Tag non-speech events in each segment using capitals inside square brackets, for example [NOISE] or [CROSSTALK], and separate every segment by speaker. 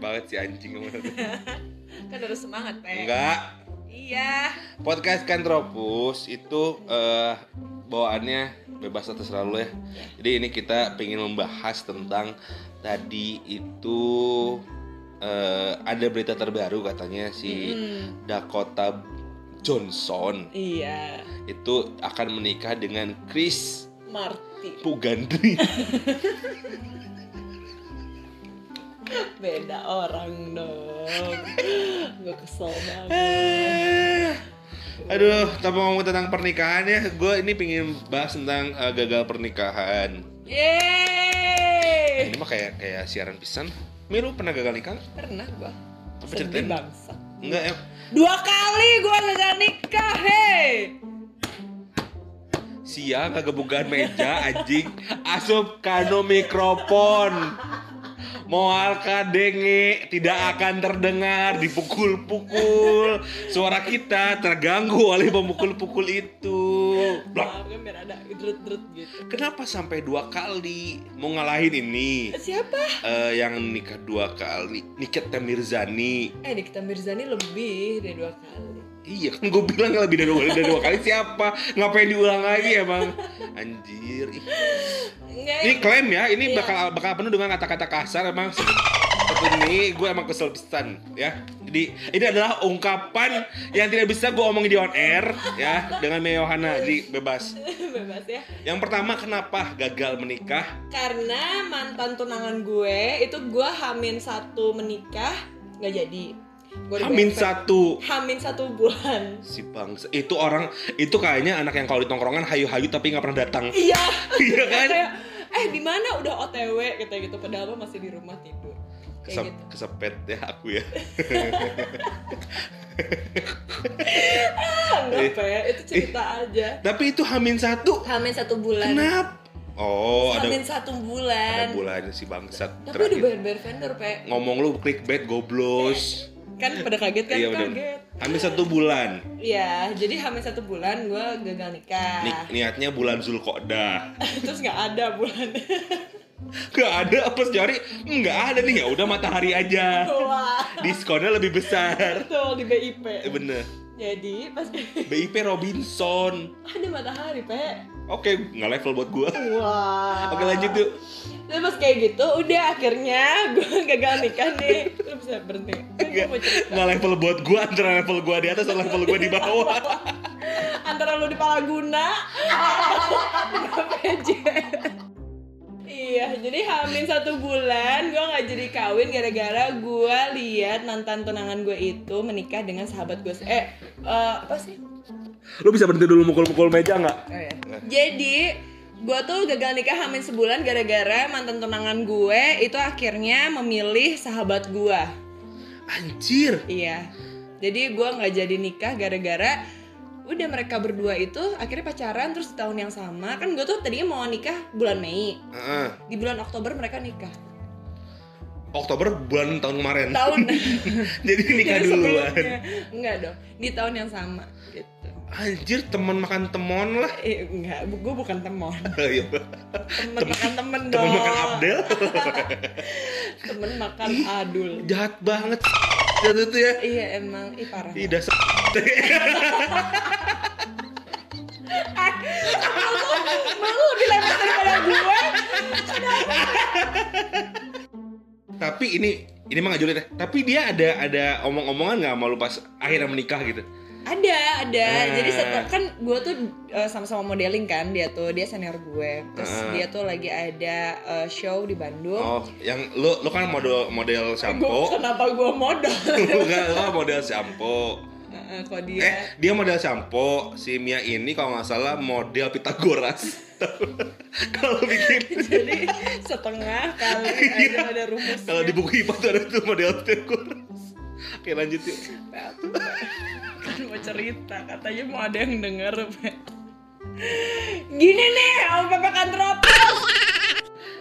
Speaker 1: banget si anjing kamu.
Speaker 2: kan harus semangat teh
Speaker 1: Enggak.
Speaker 2: iya
Speaker 1: Podcast Kantropus itu eh, bawaannya bebas atau selalu ya. Jadi ini kita pengen membahas tentang tadi itu eh, ada berita terbaru katanya si
Speaker 2: Mm-mm.
Speaker 1: Dakota Johnson
Speaker 2: iya
Speaker 1: itu akan menikah dengan Chris
Speaker 2: Marti
Speaker 1: Pugandri.
Speaker 2: beda orang dong gue kesel banget
Speaker 1: Eh, Aduh, tanpa ngomong tentang pernikahan ya, gue ini pengen bahas tentang eh, gagal pernikahan. Eh,
Speaker 2: yeay
Speaker 1: Nah, ini mah kayak kayak siaran pisan. Mi lu pernah gagal nikah? nggak?
Speaker 2: pernah gue
Speaker 1: Apa
Speaker 2: sedih
Speaker 1: ceritain?
Speaker 2: bangsa
Speaker 1: Enggak ya.
Speaker 2: dua kali gue gagal nikah hei
Speaker 1: Sial kagak meja anjing. Asup kano mikrofon. Moal kadenge tidak akan terdengar dipukul-pukul. Suara kita terganggu oleh pemukul-pukul itu. Blak.
Speaker 2: Maaf kan biar ada drut-drut gitu
Speaker 1: Kenapa sampai dua kali mau ngalahin ini?
Speaker 2: Siapa?
Speaker 1: Eh, yang nikah dua kali Nikita Mirzani
Speaker 2: Eh Nikita Mirzani lebih dari dua kali
Speaker 1: Iya kan gue bilang lebih dari dua, dari dua kali siapa Ngapain diulang lagi emang Anjir ih.
Speaker 2: Enggak
Speaker 1: Ini klaim ya Ini
Speaker 2: Iya.
Speaker 1: bakal bakal penuh dengan kata-kata kasar emang Tapi ini gue emang kesel pisan ya Jadi ini adalah ungkapan yang tidak bisa gue omongin di on air ya Dengan Mia Yohana jadi bebas
Speaker 2: [LAUGHS] bebas ya
Speaker 1: Yang pertama kenapa gagal menikah
Speaker 2: karena mantan tunangan gue itu gue hamin satu menikah nggak jadi gue
Speaker 1: Amin satu
Speaker 2: hamin satu bulan [LAUGHS]
Speaker 1: si bangsa itu orang itu kayaknya anak yang kalau di tongkrongan hayu-hayu tapi nggak pernah datang
Speaker 2: iya
Speaker 1: iya kan
Speaker 2: kayak eh di mana udah otw kata gitu padahal mah masih di rumah tidur
Speaker 1: Kesep,
Speaker 2: kayak gitu
Speaker 1: kesepet ya aku ya Eh,
Speaker 2: anggap ya itu cerita aja
Speaker 1: tapi itu hamin satu
Speaker 2: hamin satu bulan
Speaker 1: kenapa oh ada
Speaker 2: hamin satu
Speaker 1: ada
Speaker 2: bulan
Speaker 1: bulan si bangsat
Speaker 2: tapi udah
Speaker 1: terakhir
Speaker 2: bayar-bayar vendor pe
Speaker 1: ngomong lu clickbait goblos
Speaker 2: kan pada kaget kan
Speaker 1: iya udah
Speaker 2: kaget
Speaker 1: hamin satu bulan
Speaker 2: Iya, jadi hamin satu bulan gue gagal nikah
Speaker 1: Ni- niatnya bulan Zulkodah
Speaker 2: [LAUGHS] Terus nggak ada bulan
Speaker 1: [LAUGHS]
Speaker 2: [LAUGHS]
Speaker 1: Gak ada apa sejari Nggak ada nih ya udah matahari aja
Speaker 2: Wah,
Speaker 1: Diskonnya lebih besar
Speaker 2: betul di BIP
Speaker 1: Eh, Bener
Speaker 2: Jadi pas [LAUGHS]
Speaker 1: BIP Robinson
Speaker 2: ada matahari, Pe.
Speaker 1: Oke nggak level buat gua
Speaker 2: Wah.
Speaker 1: Oke lanjut yuk
Speaker 2: Terus pas kayak gitu, udah akhirnya gue [LAUGHS] gagal nikah nih. Lu bisa berhenti. Kan gua mau cerita.
Speaker 1: nggak level buat gua antara level gua di atas atau level gua di bawah
Speaker 2: Antara lu di Palaguna, [LAUGHS] sama PJ. Iya, jadi hamin satu bulan gue nggak jadi kawin gara-gara gue lihat mantan tunangan gue itu menikah dengan sahabat gue. se- Eh, eh, apa sih?
Speaker 1: lu bisa berhenti dulu mukul-mukul meja nggak
Speaker 2: Oh, iya.
Speaker 1: Nah.
Speaker 2: Jadi gue tuh gagal nikah hamin sebulan gara-gara mantan tunangan gue itu akhirnya memilih sahabat gue.
Speaker 1: anjir
Speaker 2: Iya. Jadi gue nggak jadi nikah gara-gara udah mereka berdua itu akhirnya pacaran terus di tahun yang sama kan gue tuh tadinya mau nikah bulan Mei
Speaker 1: Heeh.
Speaker 2: di bulan Oktober mereka nikah
Speaker 1: Oktober bulan tahun kemarin
Speaker 2: tahun
Speaker 1: [LAUGHS]
Speaker 2: [LAUGHS]
Speaker 1: jadi nikah
Speaker 2: Jadi
Speaker 1: duluan
Speaker 2: sebelumnya. enggak dong di tahun yang sama gitu
Speaker 1: anjir teman makan temon lah [LAUGHS]
Speaker 2: eh, enggak gue bukan temon
Speaker 1: Iya.
Speaker 2: temen makan temen dong
Speaker 1: teman makan Abdel [LAUGHS]
Speaker 2: temen makan adul
Speaker 1: jahat banget [LAUGHS] itu tuh ya
Speaker 2: Iya emang, ih parah.
Speaker 1: Ih, dasar
Speaker 2: Malu lebih lebar daripada gue.
Speaker 1: tapi ini ini mah nggak julid ya tapi dia ada ada omong-omongan nggak malu pas akhirnya menikah gitu
Speaker 2: Ada, ada.
Speaker 1: Ah.
Speaker 2: Jadi setelah kan gue tuh eh, sama-sama modeling kan dia tuh, dia senior gue. Terus
Speaker 1: Ah.
Speaker 2: dia tuh lagi ada eh, show di Bandung. Eh,
Speaker 1: oh yang lu lu kan model
Speaker 2: Gua-
Speaker 1: model shampoo
Speaker 2: kenapa gue modal?
Speaker 1: [LAUGHS]
Speaker 2: [LAUGHS]
Speaker 1: enggak lu kan model shampoo
Speaker 2: Heeh, Kok
Speaker 1: Eh,
Speaker 2: dia
Speaker 1: dia model sampo, si Mia ini kalau nggak salah model Pitagoras. [LAUGHS] kalau bikin
Speaker 2: [LAUGHS] jadi setengah
Speaker 1: [LAUGHS]
Speaker 2: kali ada ada rumus.
Speaker 1: Iya. kalau di buku IPA tuh ada tuh model Pitagoras. Oke, lanjut yuk.
Speaker 2: kan mau cerita katanya mau ada yang denger Pe. gini nih om Pepe Kantropos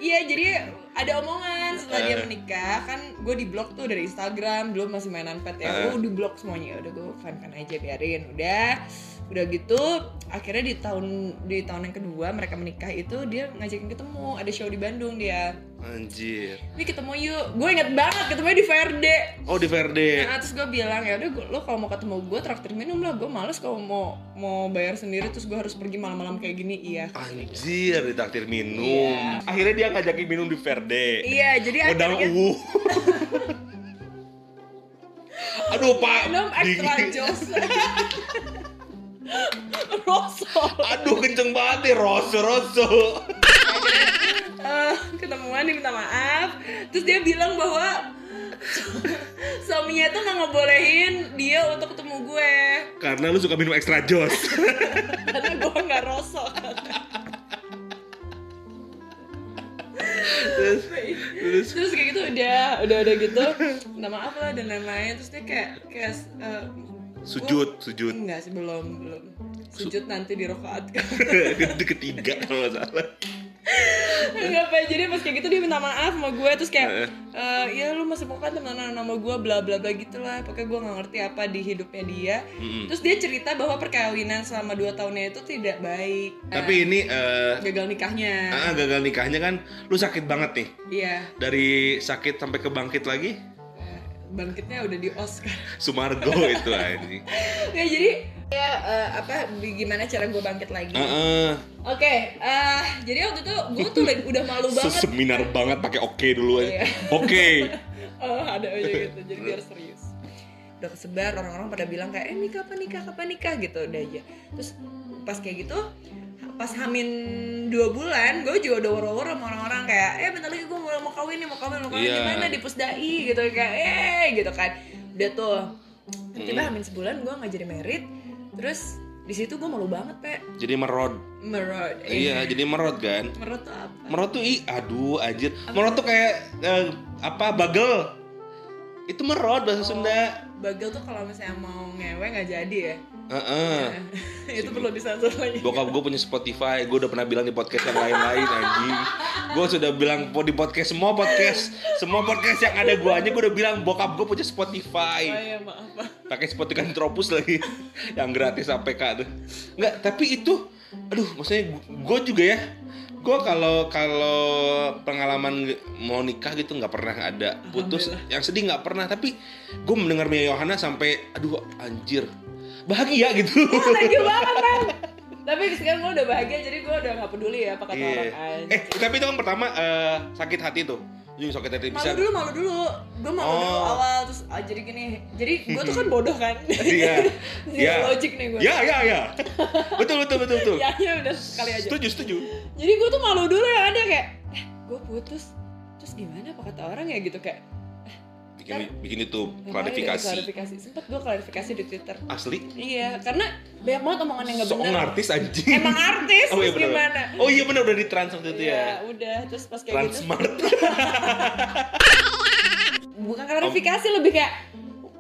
Speaker 2: iya jadi ada omongan setelah dia
Speaker 1: Eh.
Speaker 2: menikah kan gue di blok tuh dari Instagram belum masih mainan pet ya
Speaker 1: Eh.
Speaker 2: gue di blok semuanya udah gue fan fan aja biarin udah udah gitu akhirnya di tahun di tahun yang kedua mereka menikah itu dia ngajakin ketemu ada show di Bandung dia
Speaker 1: Anjir.
Speaker 2: ini ketemu yuk gue inget banget ketemu di Verde
Speaker 1: Oh di Verde.
Speaker 2: Nah, terus gue bilang ya udah gua- lo kalau mau ketemu gue traktir minum lah gue males kalau mau mau bayar sendiri terus gue harus pergi malam-malam kayak gini iya
Speaker 1: Anjir ditakdir
Speaker 2: Iya.
Speaker 1: minum. Akhirnya dia ngajakin minum di Verde.
Speaker 2: iya jadi
Speaker 1: Udang
Speaker 2: akhirnya [LAUGHS]
Speaker 1: uwu. Aduh Pak.
Speaker 2: minum extra
Speaker 1: dingin.
Speaker 2: jos [LAUGHS] Rosol
Speaker 1: Aduh kenceng banget nih rosso rosso.
Speaker 2: Eh, ketemuan dia minta maaf terus dia bilang bahwa [LAUGHS] suaminya tuh nggak ngebolehin dia untuk ketemu gue
Speaker 1: Karena lu suka minum extra jos. [LAUGHS]
Speaker 2: karena gue nggak rosol
Speaker 1: terus, terus
Speaker 2: terus kayak gitu udah udah udah gitu minta maaf lah dan lain-lain terus dia kayak kayak eh,
Speaker 1: sujud sujud
Speaker 2: enggak sih belum belum sujud nanti di
Speaker 1: [LAUGHS]
Speaker 2: rokaat
Speaker 1: itu ketiga kalau nggak salah.
Speaker 2: Enggak apa jadi pas kayak gitu dia minta maaf sama gue terus
Speaker 1: Heeh.
Speaker 2: kayak eh ya lu masih bukan temenan sama gue bla bla bla gitu lah pokoknya gue nggak ngerti apa di hidupnya dia
Speaker 1: Mm-mm.
Speaker 2: terus dia cerita bahwa perkawinan selama 2 tahunnya itu tidak baik
Speaker 1: Tapi ini eh,
Speaker 2: Eh, gagal nikahnya
Speaker 1: ah, gagal nikahnya kan lu sakit banget nih.
Speaker 2: iya
Speaker 1: Dari sakit sampai ke bangkit lagi
Speaker 2: Eh, bangkitnya udah di os kan [LAUGHS]
Speaker 1: Sumargo itu anjing.
Speaker 2: ya jadi ya eh, apa di- gimana cara gue bangkit lagi oke
Speaker 1: Heeh.
Speaker 2: eh, jadi waktu itu gue tuh lagi- udah
Speaker 1: [LAUGHS]
Speaker 2: malu banget
Speaker 1: Seseminar banget pakai oke dulu
Speaker 2: Iya.
Speaker 1: aja. Oke.
Speaker 2: [LAUGHS] oh ada aja
Speaker 1: [LAUGHS]
Speaker 2: gitu jadi biar serius udah kesebar orang-orang pada bilang kayak eh nikah kapan nikah kapan nikah gitu udah aja terus pas kayak gitu pas hamin dua bulan gue juga udah woro-woro sama orang-orang kayak eh bentar lagi gue mau mau kawin nih mau kawin mau kawin
Speaker 1: Iya.
Speaker 2: gimana di pusdai gitu kayak eh gitu kan udah tuh tiba-tiba hamin sebulan gue nggak jadi merit terus di situ gue malu banget pe
Speaker 1: Jadi merod.
Speaker 2: merod
Speaker 1: Iya, jadi merod kan.
Speaker 2: merod tuh apa
Speaker 1: Merod tuh i aduh anjir. Merod tuh kayak eh, apa bagel. Itu merod bahasa Sunda.
Speaker 2: bagel tuh kalau misalnya mau ngewe nggak jadi ya [LAUGHS]
Speaker 1: Heeh.
Speaker 2: Iya. itu perlu disensor lagi
Speaker 1: Bokap gue punya Spotify, gue udah pernah bilang di podcast yang lain-lain anjing Gue sudah bilang po- di podcast, semua podcast Semua podcast yang ada gue aja, gue udah bilang bokap gue punya
Speaker 2: Oh
Speaker 1: Spotify
Speaker 2: iya maaf Pak.
Speaker 1: pakai Spotify Tropus lagi [LAUGHS] Yang gratis APK tuh Nggak, tapi itu Aduh, maksudnya gue juga ya Gue kalau kalau pengalaman nge- mau nikah gitu nggak pernah ada putus Yang sedih nggak pernah, tapi gue mendengar Mia Yohana sampai Aduh, anjir Bahagia
Speaker 2: [LAUGHS]
Speaker 1: gitu
Speaker 2: Thank you banget Bang. Tapi sekarang gue udah bahagia jadi gue udah gak peduli ya apa kata
Speaker 1: Iya.
Speaker 2: orang aja.
Speaker 1: Eh, tapi itu kan pertama eh, sakit hati tuh. Jadi sakit hati
Speaker 2: malu
Speaker 1: bisa.
Speaker 2: dulu, malu dulu. Gue malu dulu
Speaker 1: Oh.
Speaker 2: awal terus ah, jadi gini. Jadi gue
Speaker 1: [LAUGHS]
Speaker 2: tuh kan bodoh kan. [LAUGHS]
Speaker 1: Iya.
Speaker 2: Zero
Speaker 1: Iya.
Speaker 2: logic nih gue.
Speaker 1: Ya, ya, [LAUGHS] ya. betul, betul, betul, betul.
Speaker 2: [LAUGHS] Ya ya udah sekali aja.
Speaker 1: Setuju, setuju.
Speaker 2: Jadi gue tuh malu dulu ya ada kayak eh, gue putus terus gimana apa kata orang ya gitu kayak
Speaker 1: Bikin bikin itu
Speaker 2: kemarin gitu,
Speaker 1: klarifikasi.
Speaker 2: klarifikasi sempet gue klarifikasi di twitter
Speaker 1: Asli.
Speaker 2: iya karena banyak banget omongan yang gak
Speaker 1: Sok
Speaker 2: benar
Speaker 1: artis anjing.
Speaker 2: emang artis
Speaker 1: iya,
Speaker 2: terus
Speaker 1: benar.
Speaker 2: gimana
Speaker 1: Oh iya benar udah di trans waktu itu ya.
Speaker 2: Iya, udah terus pas kayak gitu
Speaker 1: Transmart. [LAUGHS]
Speaker 2: bukan klarifikasi lebih kayak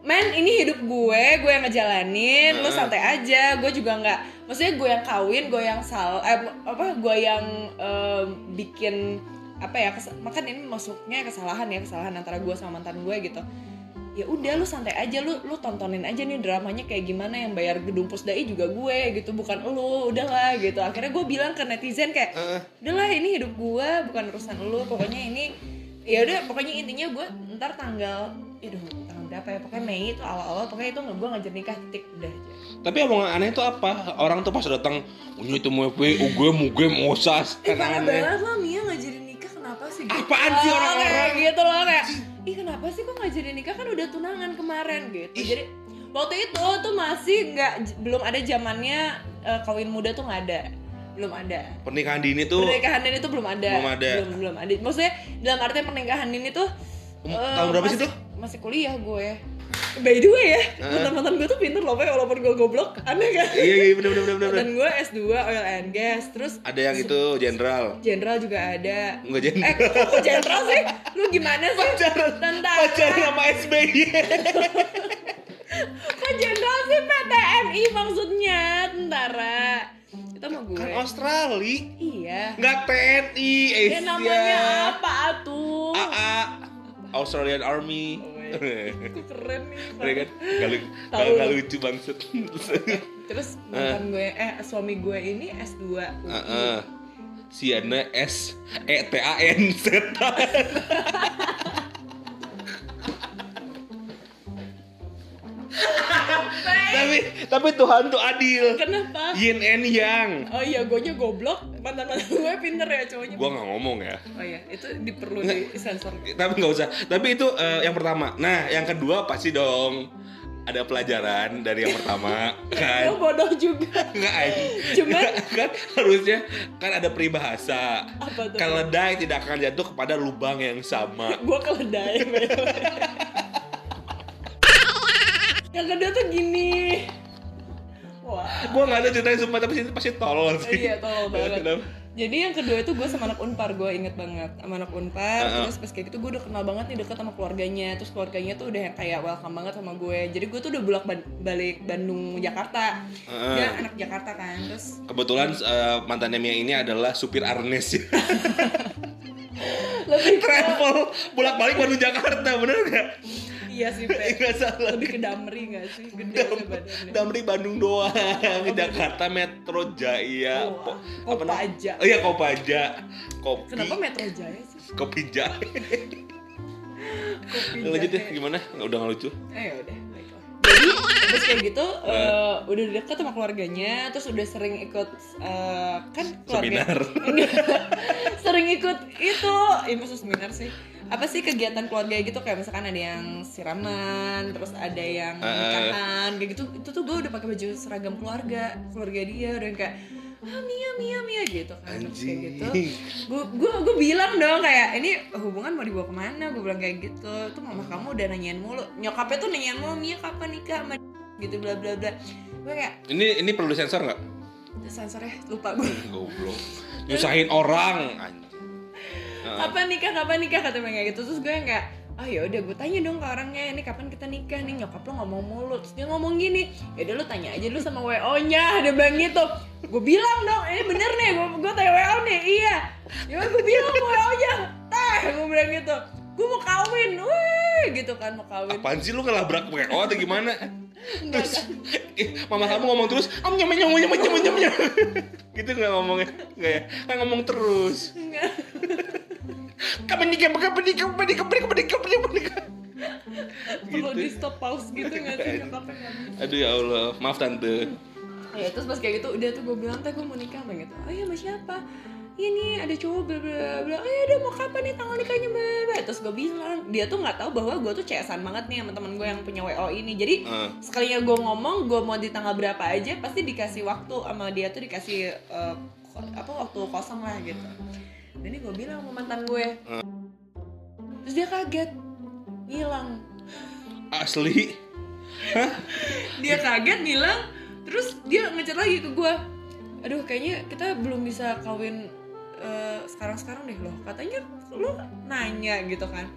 Speaker 2: men ini hidup gue gue yang ngejalanin lu
Speaker 1: Heeh.
Speaker 2: santai aja gue juga nggak maksudnya gue yang kawin gue yang sal eh, apa gue yang em, bikin apa ya kes- makan ini masuknya kesalahan ya kesalahan antara gue sama mantan gue gitu ya udah lu santai aja lu lu tontonin aja nih dramanya kayak gimana yang bayar gedung pusdai juga gue gitu bukan lu udahlah gitu akhirnya gue bilang ke netizen kayak
Speaker 1: Heeh.
Speaker 2: udahlah ini hidup gua bukan urusan lu pokoknya ini ya udah pokoknya intinya gua ntar tanggal aduh tanggal berapa ya pokoknya Mei itu awal-awal pokoknya itu nggak gua ngajar nikah titik udah aja
Speaker 1: Tapi omongan aneh itu apa? Orang tuh pas datang, "Oh, "Unyu itu mau gue, gue mau gue osas."
Speaker 2: eh
Speaker 1: Kan
Speaker 2: parah
Speaker 1: aneh.
Speaker 2: banget lah Mia ngajarin nikah kenapa sih gitu?
Speaker 1: Apaan sih
Speaker 2: Oh,
Speaker 1: orang-orang?
Speaker 2: kayak gitu loh kayak ih kenapa sih kok ngajarin nikah kan udah tunangan kemarin gitu jadi waktu itu tuh masih nggak j- belum ada zamannya eh, kawin muda tuh nggak ada belum ada
Speaker 1: Pernikahan dini tuh
Speaker 2: pernikahan dini tuh belum ada
Speaker 1: Belum ada.
Speaker 2: belum belum ada maksudnya dalam artian pernikahan dini tuh
Speaker 1: Um,
Speaker 2: eh,
Speaker 1: tahun berapa sih
Speaker 2: masih-
Speaker 1: tuh?
Speaker 2: masih kuliah gue by the way ya mantan-mantan gue tuh pinter loh Pe, walaupun gue goblok aneh kan
Speaker 1: Iya, iya benar benar benar benar.
Speaker 2: mantan gue S2 oil and gas terus
Speaker 1: Ada yang itu jenderal.
Speaker 2: jenderal juga ada
Speaker 1: Enggak
Speaker 2: eh
Speaker 1: jenderal.
Speaker 2: kok kok jenderal sih lu gimana sih
Speaker 1: pacaran
Speaker 2: Tentang-
Speaker 1: [LAUGHS] pacaran sama SBY
Speaker 2: kok jenderal sih PTNI maksudnya tentara itu sama gue
Speaker 1: kan Australia
Speaker 2: iya
Speaker 1: nggak TNI
Speaker 2: ya namanya
Speaker 1: Asia
Speaker 2: apa atuh
Speaker 1: AA Australian Army
Speaker 2: Oh, Kok keren nih
Speaker 1: Mereka gak, lu-
Speaker 2: Tahu
Speaker 1: gak- gak
Speaker 2: lu.
Speaker 1: [LAUGHS] lucu bangset
Speaker 2: terus mantan gue eh suami gue ini S2 UI.
Speaker 1: Heeh. Siana S E T A N Z. [LAUGHS] tapi tapi Tuhan tuh adil.
Speaker 2: kenapa
Speaker 1: Yin and Yang.
Speaker 2: oh iya gue nya goblok mantan mantan gue pinter ya cowoknya
Speaker 1: Gua nggak ngomong ya.
Speaker 2: oh iya itu diperlu di sensor
Speaker 1: Tapi nggak usah. Tapi itu eh, yang pertama. Nah, yang kedua pasti dong ada pelajaran dari yang pertama
Speaker 2: gue
Speaker 1: kan.
Speaker 2: bodoh juga
Speaker 1: Enggak anjing.
Speaker 2: Cuman-
Speaker 1: Nggak, kan harusnya kan ada peribahasa.
Speaker 2: Apa tuh?
Speaker 1: Keledai tidak akan jatuh kepada lubang yang sama.
Speaker 2: gue keledai [LAUGHS] by the way. yang kedua tuh gini wah
Speaker 1: Gua nggak ada ceritanya sumpah tapi itu pasti tolol sih.
Speaker 2: [LAUGHS] iya tolol banget
Speaker 1: Kenapa?
Speaker 2: jadi yang kedua itu gue sama anak unpar gue inget banget sama anak unpar
Speaker 1: Heeh.
Speaker 2: terus pas kayak gitu gue udah kenal banget nih deket sama keluarganya terus keluarganya tuh udah kayak welcome banget sama gue jadi gue tuh udah bolak ban- balik Bandung Jakarta
Speaker 1: Heeh.
Speaker 2: dia anak Jakarta kan
Speaker 1: [LAUGHS]
Speaker 2: terus
Speaker 1: Kebetulan eh, mantannya Mia ini adalah supir Arnes [LAUGHS] ya.
Speaker 2: lebih
Speaker 1: Travel bolak-balik Bandung Jakarta, bener nggak?
Speaker 2: iya sih Pe.
Speaker 1: Nggak salah.
Speaker 2: lebih ke Damri gak sih gede
Speaker 1: Dam,
Speaker 2: sih badannya
Speaker 1: Damri Bandung doang, Jakarta Metro Jaya,
Speaker 2: Oh,
Speaker 1: Po-
Speaker 2: Kopaja.
Speaker 1: namanya? Oh iya Kopaja, kopi,
Speaker 2: kenapa Metro Jaya sih
Speaker 1: kopi Jaya.
Speaker 2: kopi
Speaker 1: [LAUGHS] Lanjut deh,
Speaker 2: jahe.
Speaker 1: gimana? Nggak, Udah nggak lucu?
Speaker 2: Eh udah baiklah. Jadi terus kayak gitu eh, udah dekat sama keluarganya, terus udah sering ikut eh, kan keluarga
Speaker 1: Seminar. [LAUGHS]
Speaker 2: Enggak. [LAUGHS] sering ikut itu, ya maksud seminar sih. Apa sih kegiatan keluarga gitu kayak misalkan ada yang siraman, terus ada yang
Speaker 1: Eh, eh.
Speaker 2: nikahan, kayak gitu. Itu tuh gue udah pakai baju seragam keluarga, keluarga dia udah yang kayak ah Mia Mia Mia gitu kan Terus kayak gitu
Speaker 1: Anjing.
Speaker 2: gue gue bilang dong kayak ini hubungan mau dibawa kemana gue bilang kayak gitu tuh mama kamu udah nanyain mulu nyokapnya tuh nanyain mulu Mia kapan nikah sama d-?" gitu bla bla bla gue kayak
Speaker 1: Ini ini perlu disensor nggak?
Speaker 2: sensornya lupa gue
Speaker 1: Goblok, nyusahin orang. Anjing.
Speaker 2: kapan nikah kapan nikah kata mereka kayak gitu terus gue yang kayak ah ya udah gue tanya dong ke orangnya ini kapan kita nikah nih nyokap lo ngomong mulu terus dia ngomong gini ya udah lo tanya aja dulu sama wo nya dia bilang gitu gue bilang dong ini bener nih gue gue tanya wo nih iya ya gue bilang ke wo nya teh gue bilang gitu gue mau kawin wih gitu kan mau kawin
Speaker 1: Apaan sih lu ngelabrak pakai oh atau gimana?
Speaker 2: Enggak,
Speaker 1: terus eh, [LAUGHS] mama kamu ngomong terus, om nyam nyam nyam nyam nyam nyam. [LAUGHS] gitu nggak ngomongnya, nggak ya? Kan ngomong terus.
Speaker 2: Enggak.
Speaker 1: Kapan nikah? Kapan nikah? Kapan nikah? Kapan nikah? Kapan nikah? Kapan nikah?
Speaker 2: perlu
Speaker 1: Gitu.
Speaker 2: di stop pause gitu nggak sih nyokapnya kan? nggak bisa.
Speaker 1: Aduh ya Allah, maaf tante.
Speaker 2: ya terus pas kayak gitu udah tuh gue bilang teh gue mau nikah sama gitu oh iya sama siapa Iya nih ada cowok bla bla bla, bla oh iya udah mau kapan nih tanggal nikahnya bla bla, bla terus gue bilang dia tuh nggak tahu bahwa gue tuh cesan banget nih sama temen gue yang punya wo ini jadi
Speaker 1: Eh.
Speaker 2: sekalinya gue ngomong gue mau di tanggal berapa aja pasti dikasih waktu sama dia tuh dikasih eh, ko- apa waktu kosong lah gitu jadi gue bilang sama mantan gue terus dia kaget ngilang
Speaker 1: Asli.
Speaker 2: dia kaget bilang terus dia ngechat lagi ke gue aduh kayaknya kita belum bisa kawin eh, sekarang-sekarang deh loh katanya lo nanya gitu kan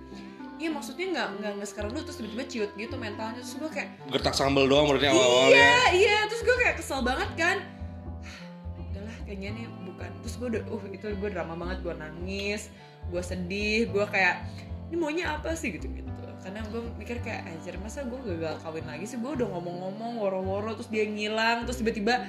Speaker 2: iya maksudnya nggak nggak nggak sekarang dulu terus tiba-tiba ciut gitu mentalnya terus gue kayak
Speaker 1: Gertak sambal doang berarti
Speaker 2: iya
Speaker 1: awal-awalnya.
Speaker 2: iya terus gue kayak kesel banget kan [SIGHS] udahlah kayaknya nih bukan terus gue udah uh itu gue drama banget gue nangis gue sedih gue kayak ini maunya apa sih gitu gitu karena gue mikir kayak anjir masa gue gagal kawin lagi sih gue udah ngomong-ngomong woro-woro terus dia ngilang terus tiba-tiba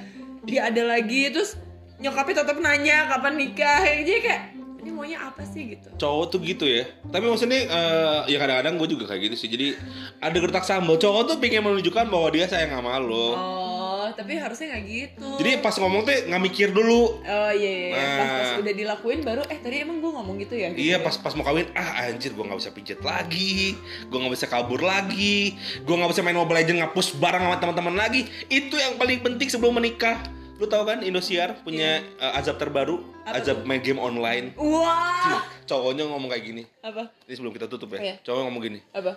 Speaker 2: dia ada lagi terus nyokapnya tetap nanya kapan nikah jadi kayak ini maunya apa sih gitu
Speaker 1: Cowok tuh gitu ya. Tapi maksudnya eh, ya kadang-kadang gue juga kayak gitu sih. Jadi ada gertak sambal. Cowok tuh pengen menunjukkan bahwa dia sayang sama lo.
Speaker 2: oh tapi harusnya nggak gitu
Speaker 1: Jadi pas ngomong tuh nggak mikir dulu.
Speaker 2: Oh iya, iya. iya. Pas, pas
Speaker 1: Nah.
Speaker 2: udah dilakuin baru eh tadi emang gue ngomong gitu ya.
Speaker 1: Iya pas pas mau kawin ah anjir gue nggak bisa pijet lagi, gue nggak bisa kabur lagi, gue nggak bisa main Mobile Legends ngapus barang sama teman-teman lagi. Itu yang paling penting sebelum menikah. Lu tahu kan Indosiar punya eh, azab terbaru,
Speaker 2: Iya. Apa
Speaker 1: azab main game online. Iya,
Speaker 2: Wah.
Speaker 1: Cowoknya ngomong kayak gini.
Speaker 2: Apa?
Speaker 1: Ini sebelum kita tutup ya.
Speaker 2: Iya.
Speaker 1: Cowok ngomong gini,
Speaker 2: Apa?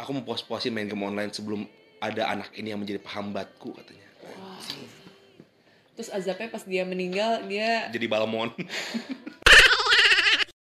Speaker 1: aku mau puas-puasin main game online sebelum ada anak ini yang menjadi penghambatku katanya.
Speaker 2: Terus azabnya pas dia meninggal dia
Speaker 1: Jadi balmon.